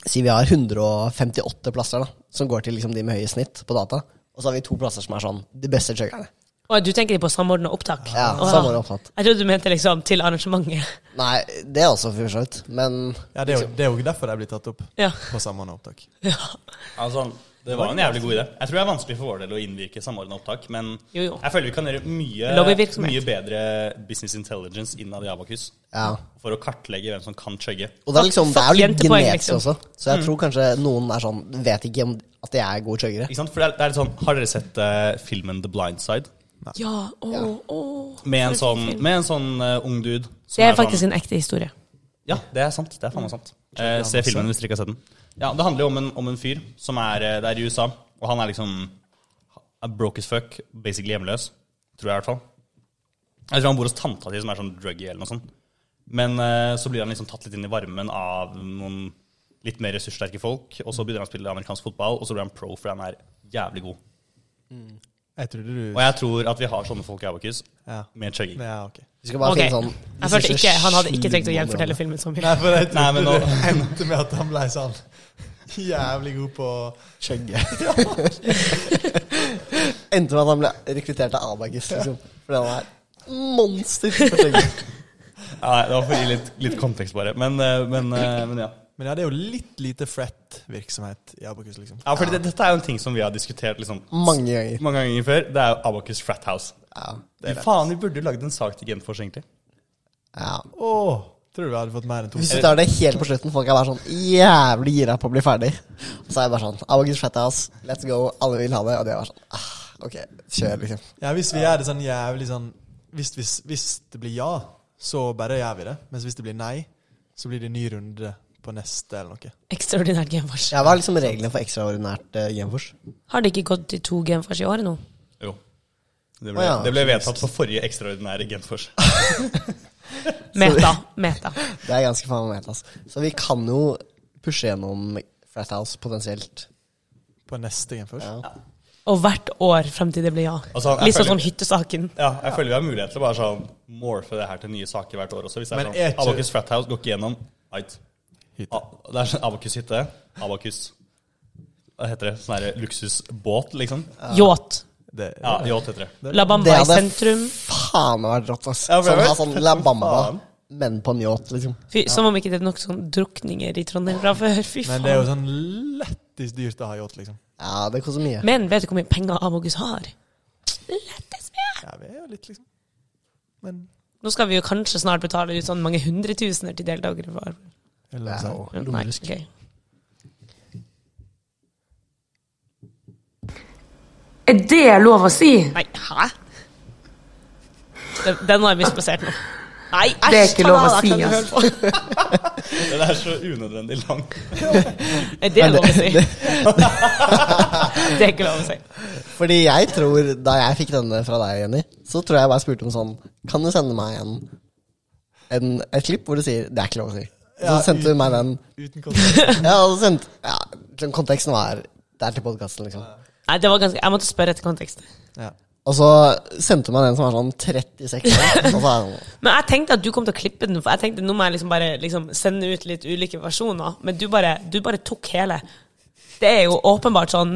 Si vi har 158 plasser da som går til liksom de med høye snitt på data. Og så har vi to plasser som er sånn de beste chuggerne.
Å, du tenker på samordna opptak?
Ja,
Å,
samordnet opptak.
Jeg trodde du mente liksom til arrangementet.
Nei, det er også for så vidt. Men
Ja, det er, jo, det er jo derfor de blir tatt opp
Ja.
på samordna opptak.
ja.
Altså, det var en jævlig god idé. Jeg tror det er vanskelig for vår del å innvirke samordna opptak, men
Jo, jo.
jeg føler vi kan gjøre mye,
Lobbyvirksomhet.
mye bedre business intelligence innad i Abakus
ja.
for å kartlegge hvem som kan chugge.
Og det er liksom, det er jo litt
jentepoeng,
genetisk
liksom.
også. Så jeg tror kanskje noen er sånn Vet ikke om at de er gode chuggere.
Ikke sant? For det er, det er litt sånn, Har dere sett eh, filmen The Blind Side?
Ja, å, å.
Med en sånn, med en sånn eh, ung dude som
Det er
sånn-
faktisk en ekte historie.
Ja, det er sant. Det er faen meg sant. Eh, se filmen hvis dere ikke har sett den. Ja, Det handler jo om en, om en fyr som er eh, Det er i USA, og han er liksom er broke as fuck, basically hjemløs. Tror jeg, i hvert fall. Jeg tror han bor hos tanta si, som er sånn druggy eller noe sånt. Men eh, så blir han liksom tatt litt inn i varmen av noen litt mer ressurssterke folk, og så begynner han å spille amerikansk fotball, og så blir han pro fordi han er jævlig god.
Jeg trodde du
Og jeg tror at vi har sånne folk i Abakus
Ja.
med chugging.
Ja, ok.
Vi skal bare
Ok.
finne sånn de
Jeg følte
siste
ikke, Han hadde
sju
ikke tenkt å gjenfortelle
områdene.
filmen så mye.
Nei, for jeg
Nei, men
trodde det
nå-
endte med at han ble sånn jævlig god på skjegget.
Endte med at han ble rekruttert av Abacus, liksom. Fordi han er monster. på skjegget.
Ja, nei, det var for å gi litt, litt kontekst, bare. Men, eh, men, eh, men ja.
Men ja, det er jo litt lite fret-virksomhet i Abakus, liksom.
ja fordi det, dette er jo en ting som vi har diskutert liksom,
Mange ganger.
mange ganger før. Det er jo Abacus Frat House.
Ja, det
Fy
er det.
faen, vi burde lagd en sak til Genfors, egentlig.
Ja.
Åh, tror du vi hadde fått mer enn to?
Hvis du tar det helt på slutten, folk er bare sånn jævlig gira på å bli ferdig. Så er det bare sånn Abacus Fathouse, let's go, alle vil ha det. Og de er bare sånn ah, Ok, kjør, liksom.
Ja, hvis vi gjør det sånn jævlig sånn hvis, hvis, hvis det blir ja, så bare gjør vi det. Mens hvis det blir nei, så blir det ny runde på neste eller noe.
Ekstraordinært genfors.
Ja, Hva er liksom reglene for ekstraordinært uh, Genfors?
Har det ikke gått til to genfors i året nå?
Jo. Det
Å
ble,
ja,
det ble vedtatt på forrige ekstraordinære Genfors.
Meta. Meta.
Det er ganske faen meg helt, ass. Så vi kan jo pushe gjennom Frat House potensielt.
På neste game først.
Ja.
Og hvert år frem til det blir ja.
Altså, jeg
Litt sånn
føler-
som hyttesaken.
Ja, jeg føler vi har mulighet til å bare sånn morfe det her til nye saker hvert år også. Hvis det er
Men er
sånn,
ikke-
Abacus Frat House går ikke gjennom. Right.
Hytte.
Ah, Det er sånn Abacus hytte. Abacus Hva heter det? Sånn herre luksusbåt, liksom?
Yacht.
Det,
Ja, yacht heter det.
La
Det
Bamba i
hadde
sentrum.
faen meg vært rått, ass.
Ja, for det
sånn,
var
ha
fett
sånn
som
La Bamba,
faen.
men på en yacht, liksom.
Fy, som om ikke det er nok sånn drukninger i Trondheim fra før. Fy
Men det er jo
faen.
sånn lettest dyrt å ha yacht, liksom.
Ja, det koster mye.
Men vet du hvor mye penger Abogus har? Lettest mye.
Ja, vi er jo litt, liksom. Men
Nå skal vi jo kanskje snart betale ut sånn mange hundretusener til deltakere. For.
eller,
Wow.
så-
Nei, ok.
Er det lov å si?
Nei, hæ? Den, den har jeg misplassert nå. Nei, æsj!
Det er ikke lov å
ta
si,
den, jeg
altså.
kan ikke høre
Den er så unødvendig lang.
på. Er det lov å si? Det er ikke lov å si.
Fordi jeg tror, da jeg fikk denne fra deg, Jenny, så tror jeg bare spurte om sånn Kan du sende meg en, en et klipp hvor du sier 'det er ikke lov å si'? Så
Ja,
sendte
i-
du meg den.
Uten kontekst.
Ja, og så sendte Ja, liksom, konteksten var Det er til podkasten, liksom.
Nei, det var ganske, jeg måtte spørre etter kontekst.
Ja.
Og så sendte du meg den som var sånn 36 år. Og så er sånn, den
Men jeg tenkte at du kom til å klippe den, for jeg tenkte nå må jeg liksom bare liksom sende ut litt ulike versjoner. Men du bare, du bare tok hele. Det er jo åpenbart sånn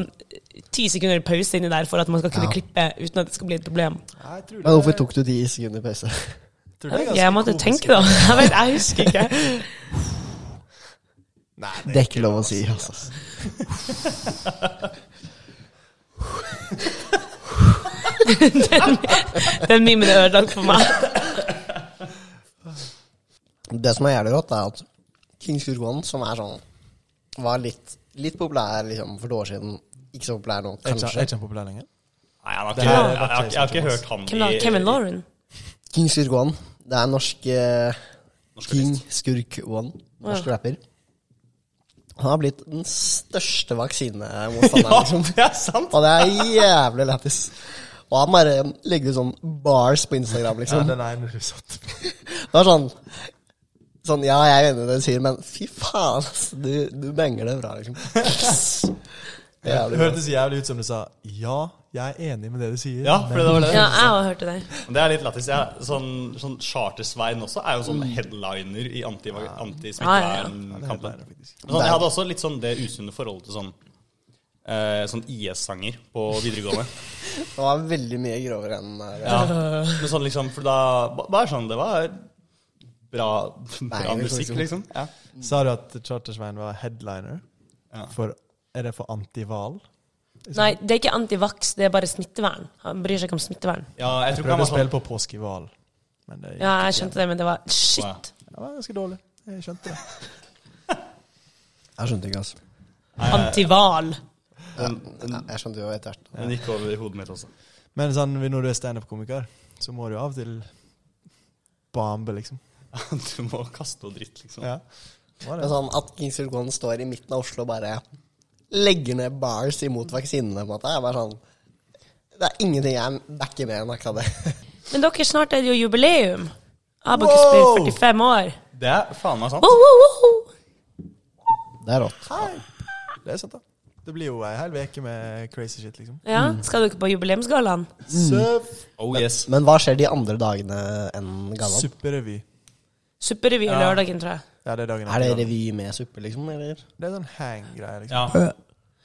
ti sekunder pause inni der for at man skal kunne
Ja.
klippe uten at det skal bli et problem.
Nei, Jeg tror
Men hvorfor tok du ti sekunder pause?
tror det er ganske
Jeg måtte
komisk.
tenke, da. Jeg vet, jeg husker ikke.
Nei,
Det er ikke lov å si, altså.
Den mimen er ødelagt for meg.
Det som er jævlig rått, er at Kings Kurgon, som er sånn Var litt, litt populær liksom, for et år siden. Ikke så populær nå,
Er ikke- er
kanskje.
ikke han populær lenger?
Nei, han har
Det
ikke, jeg,
her er
har- jeg, har- jeg har ikke
Thomas.
hørt han
Hvem da?
i-
Kevin Lauren?
King Skurk One. Det er norsk eh, King Skurk One. Norsk
Ja.
rapper. Han har blitt den største vaksinemotstanderen, liksom.
Det er sant!
Og det er jævlig lættis. Og han bare legger ut sånn bars på Instagram,
Ja,
liksom.
den ene du satt på.
Det var sånn Sånn, Ja, jeg er enig i det du sier, men fy faen, ass. Du, du banger det bra, liksom. Det er
Det
jævlig bra.
hørtes jævlig ut som du sa ja, jeg er enig med det du sier.
Ja, for det var det.
Ja, jeg har hørt det.
Men Det er litt lættis. Ja. Sånn, sånn Chartersvein også er jo sånn headliner i anti-
Men det er
antismittevernkampen.
bare faktisk.
Sånn, jeg hadde også litt sånn det usunne forholdet til sånn, eh, sånn IS-sanger på videregående.
Det var veldig mye grovere enn eh, det.
Ja. Men sånn liksom, for da ba- Bare sånn, det var bra, bra
Nei,
musikk,
liksom.
liksom. Ja.
Sa du at Chartersvein var headliner? For, er det for antival?
Nei, det er ikke antivaks, det er bare smittevern. Han bryr seg ikke om smittevern.
ja, jeg tror ikke
Prøvde å
han var sånn
spille på påskeval, men det
Ja, jeg skjønte det, men det var shit.
det var ganske dårlig. Jeg skjønte det.
Jeg skjønte ikke, altså.
Antival.
Den,
Ja,
den,
jeg skjønte jo etter hvert.
den gikk over i hodet mitt også.
Men sånn, når du er standup-komiker, så må du av og til bambe, liksom.
Du må kaste og dritt, liksom.
Ja. Var det?
Det er sånn At Kings Ulgon står i midten av Oslo og bare legger ned bars imot vaksinene. på en måte. Jeg er bare sånn, Det er ingenting jeg backer med enn akkurat det.
Men dere, snart er det jo jubileum. Abakus blir 45 år.
Det er faen meg sant.
Wow, wow, wow.
Det er rått.
Det er sant, da. Det blir jo ei hel uke med crazy shit, liksom.
Ja, Skal dere på jubileumsgallaen?
Surf,
Oh yes.
Men hva skjer de andre dagene enn gallaen?
Supperevy.
Supperevy
Ja.
lørdagen, tror jeg.
Ja, det er dagen
Er det
etter.
revy med suppe, liksom? Eller?
Det er sånn hang-greie, liksom.
Ja.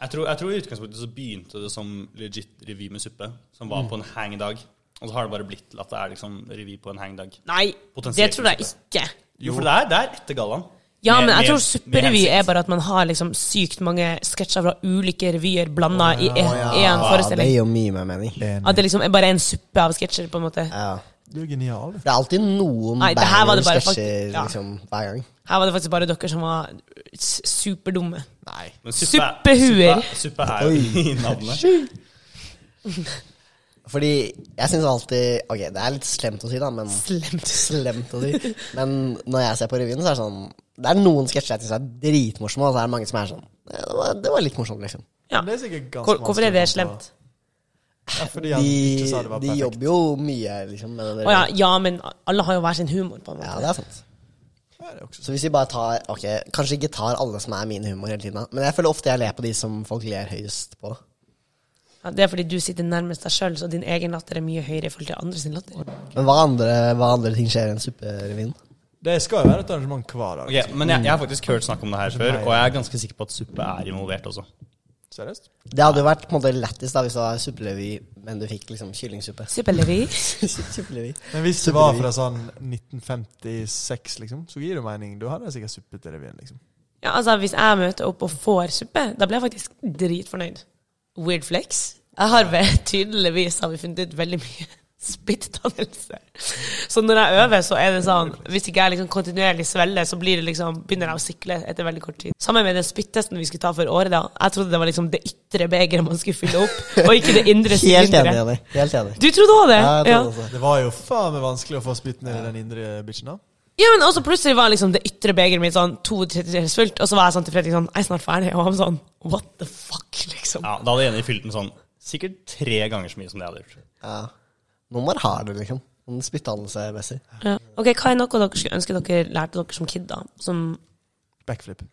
Jeg tror, jeg tror i utgangspunktet så begynte det som legit revy med suppe, som var på en hang-dag. Og så har det bare blitt at det er liksom revy på en hang-dag.
Nei, det
Potensielt
tror jeg
suppe.
ikke.
Jo, for det er, det er etter gallaen.
Ja,
Med-
men jeg
med-
tror
med
supperevy
hensikt.
er bare at man har liksom sykt mange sketsjer fra ulike revyer blanda i én
Ja, det
forestilling.
gir jo mye mer mening.
At det liksom er bare en suppe av sketsjer, på en måte.
Ja.
Du er genial.
Det er alltid noen
Nei, det her var det bare
banger sketsjer
fakt- ja.
liksom, hver gang.
Her var det faktisk bare dere som var s- superdumme.
Nei.
Men suppe,
Suppehuer.
Suppe, suppe er jo i navnet.
Fordi jeg syns alltid Ok, det er litt slemt å si, da, men
Slemt.
Slemt å si. Men når jeg ser på revyen, så er det sånn Det er noen sketsjer jeg syns er dritmorsomme, og så er det mange som er sånn «Eh, Det var, det var litt morsomt, liksom.
Ja.
Men Det er sikkert ganske
Hvor, hvorfor er det
vanskelig å komme på.
slemt?
Ja, fordi han ikke sa det
De,
var
de
perfekt.
jobber jo mye, liksom, med det
Å ja, ja, men alle har jo hver sin humor, på en
Ja,
måte.
det er sant.
Ja, det er også
Så hvis vi bare tar Ok, kanskje ikke tar alle som er min humor hele tiden, men jeg føler ofte jeg ler på de som folk ler høyest på.
Ja, det er fordi du sitter nærmest deg sjøl, så din egen latter er mye høyere i forhold til andre sin latter.
Men hva andre, hva andre ting skjer enn supperevyen?
Det skal jo være et arrangement hver dag. liksom.
Ok, men jeg, jeg har faktisk hørt snakk om det her før, og jeg er ganske sikker på at suppe er involvert også.
Seriøst?
Det hadde jo vært på en måte lættis da hvis det var supperevy, men du fikk liksom kyllingsuppe.
Supperevy.
supperevy.
Men hvis det var fra sånn 1956, liksom, så gir det mening. Da hadde jeg sikkert suppe til revyen, liksom.
Ja, altså, hvis jeg møter opp og får suppe, da blir jeg faktisk dritfornøyd. Weird flex. Jeg har ved tydeligvis har vi funnet ut veldig mye spyttdannelse. Så når jeg øver, så er det sånn Hvis ikke jeg liksom kontinuerlig svelger, så blir det liksom, begynner jeg å sikle etter veldig kort tid. Sammen med den spyttesten vi skulle ta for året, da. Jeg trodde det var liksom det ytre begeret man skulle fylle opp, og ikke det indre
Helt enig,
sylinderet.
Jenny. Helt enig.
Du trodde òg det?
Ja, jeg tror det også.
Det var jo faen meg vanskelig å få spytt ned i den indre bitchen, da.
Ja, men også plutselig var liksom det ytre begeret mitt sånn to tredjedeler fullt, og så var jeg sånn til Fredrik sånn Jeg er snart ferdig, og han sånn What the fuck, liksom.
Ja, Da hadde Jenny fylt den sånn sikkert tre ganger så mye som det jeg hadde gjort.
Ja. Nummer har du, liksom. Sånn Spyttdannelse-messig.
Ja. Ok, Hva er noe dere skulle ønske dere lærte dere som kid, da? Som
Backflip.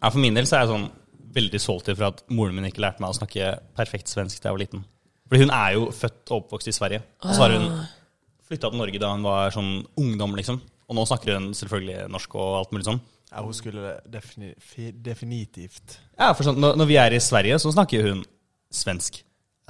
Ja, for min del så er jeg sånn veldig salty for at moren min ikke lærte meg å snakke perfekt svensk da jeg var liten. Fordi hun er jo født og oppvokst i Sverige. Og så har hun flytta til Norge da hun var sånn ungdom, liksom. Og nå snakker hun selvfølgelig norsk og alt mulig sånn.
Ja, hun skulle defini fi- definitivt
Ja, for sånn, når, når vi er i Sverige, så snakker jo hun svensk.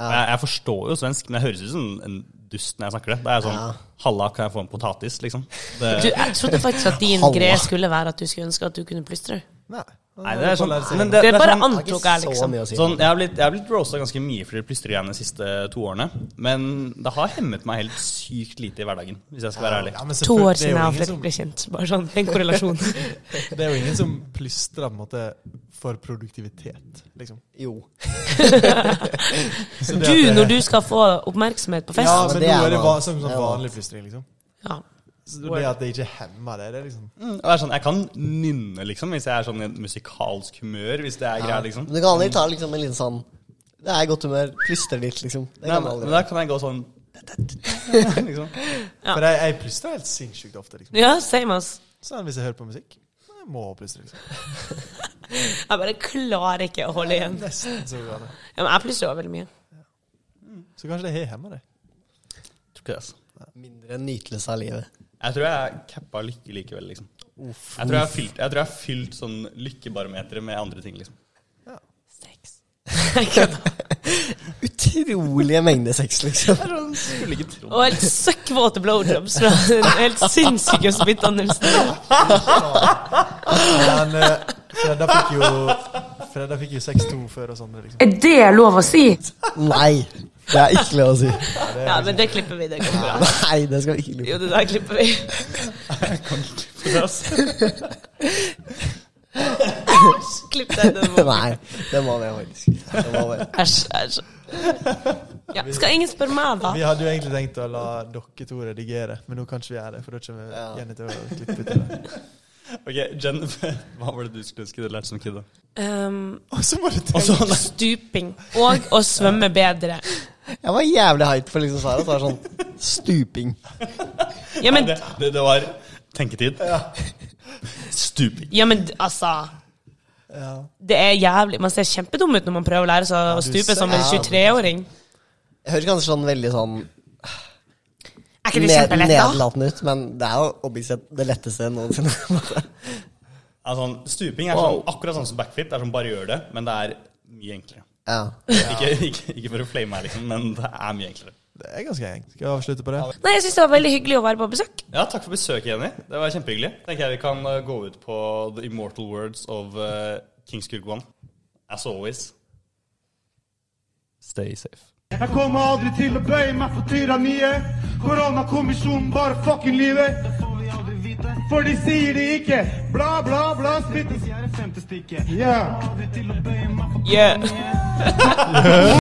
Og Jeg, jeg forstår jo svensk, men jeg høres ut som en dust når jeg snakker det. Da er jeg sånn Halla, kan jeg få en potatis, liksom? Det,
du, Jeg trodde faktisk at din
Halla.
greie skulle være at du skulle ønske at du kunne plystre.
Nei.
nei, det er sånn,
Lære seg
men
Det
det, det er
bare
sånn,
Det er
antok
ikke
jeg,
så
liksom.
mye å si.
sånn Jeg har blitt, jeg har blitt roasta ganske mye for de plystregreiene de siste to årene. Men det har hemmet meg helt sykt lite i hverdagen, hvis jeg skal være ærlig.
Ja, men
To
selvfølgelig-
år
det er
siden
jo
jeg og
ingen
Fredrik
som-
ble kjent. Bare sånn, en korrelasjon.
Det er jo ingen som plystrer på en måte for produktivitet, liksom.
Jo.
Så det
Du,
at det-
når du skal få oppmerksomhet på
Ja,
fest.
men
det
nå
er
er det
noe-
va- som,
det
som
er noe.
vanlig plystring, liksom.
Ja.
Så det at det ikke hemmer det, det er liksom
Mm, og det er sånn, Jeg kan nynne, liksom, hvis jeg er sånn i et musikalsk humør. Hvis det er greia, liksom.
Men du kan aldri ta liksom en liten sånn Det er i godt humør, plystre litt, liksom. Det
Nei,
kan du
men,
aldri.
men da kan jeg gå sånn liksom.
Ja.
For jeg, jeg plystrer helt sinnssykt ofte, liksom.
ja, same ass.
Sånn hvis jeg hører på musikk. Jeg må plystre, liksom.
Jeg bare klarer ikke å holde igjen.
Nesten så går det.
Ja, men jeg plystrer også veldig mye.
Så kanskje det har hemma det.
Tror ikke det, altså.
Mindre nytelse av livet.
Jeg tror jeg cappa lykke likevel, liksom. Jeg tror jeg har fylt, jeg tror jeg har fylt sånn lykkebarometeret med andre ting, liksom.
Sex. Kødda.
Utrolige mengder sex, liksom.
Jeg skulle ikke tro
Og helt søkkvåte blowjobs fra den helt sinnssyke spyttdannelsen.
Men eh, Fredda fikk jo Fredda fikk jo 6-2 før oss andre, liksom.
Er det lov å si?
Nei! Det er ikke lov å si.
Ja,
liksom-
men det klipper vi. Det går bra.
Nei, det skal vi ikke lov
Jo, det der klipper vi. Klipp den. den må-
Nei, det må vi faktisk. Det må vi.
Æsj, æsj. Ja, skal ingen spørre meg, da?
Vi hadde jo egentlig tenkt å la dere to redigere, men nå kan ikke vi gjøre det. For da kommer Jenny til å klippe ut det. der.
Ok, Jen, hva var det du skulle ønske du lærte som kid? da?
Um,
Og så må du tenke
Altså, nei,
stuping og å svømme bedre.
Jeg var jævlig hyped for liksom svaret. Så var det sånn stuping.
Ja, men,
det, det, det var tenketid. Stuping.
ja, men altså
Ja.
Det er jævlig Man ser kjempedum ut når man prøver å lære seg å
du
stupe
ser-
som en
Ja,
23-åring.
Jeg høres kanskje sånn veldig sånn
Er ikke det
ned,
kjempelett, da?
nedlatende ut, men det er jo objektivt sett det letteste noensinne. på en måte.
Ja, sånn, stuping er sånn, akkurat sånn som backflip. Det er sånn bare gjør det, men det er mye enklere.
ja.
Ikke, ikke, ikke for å flame her, liksom, men det er mye enklere.
Det er ganske enkelt. Skal vi avslutte på det?
Nei, jeg syns det var veldig hyggelig å være på besøk.
Ja, takk for besøket, Jenny. Det var kjempehyggelig. Tenker jeg vi kan eh, gå ut på the immortal words of uh, Kings Kurgwan. As always. Stay safe.
Jeg kommer aldri til å bøye meg for tyranniet. Koronakommisjonen bare fucking lyver. For de sier det ikke. Bla, bla, bla. Spyttes. Ja.
Yeah.
Hvor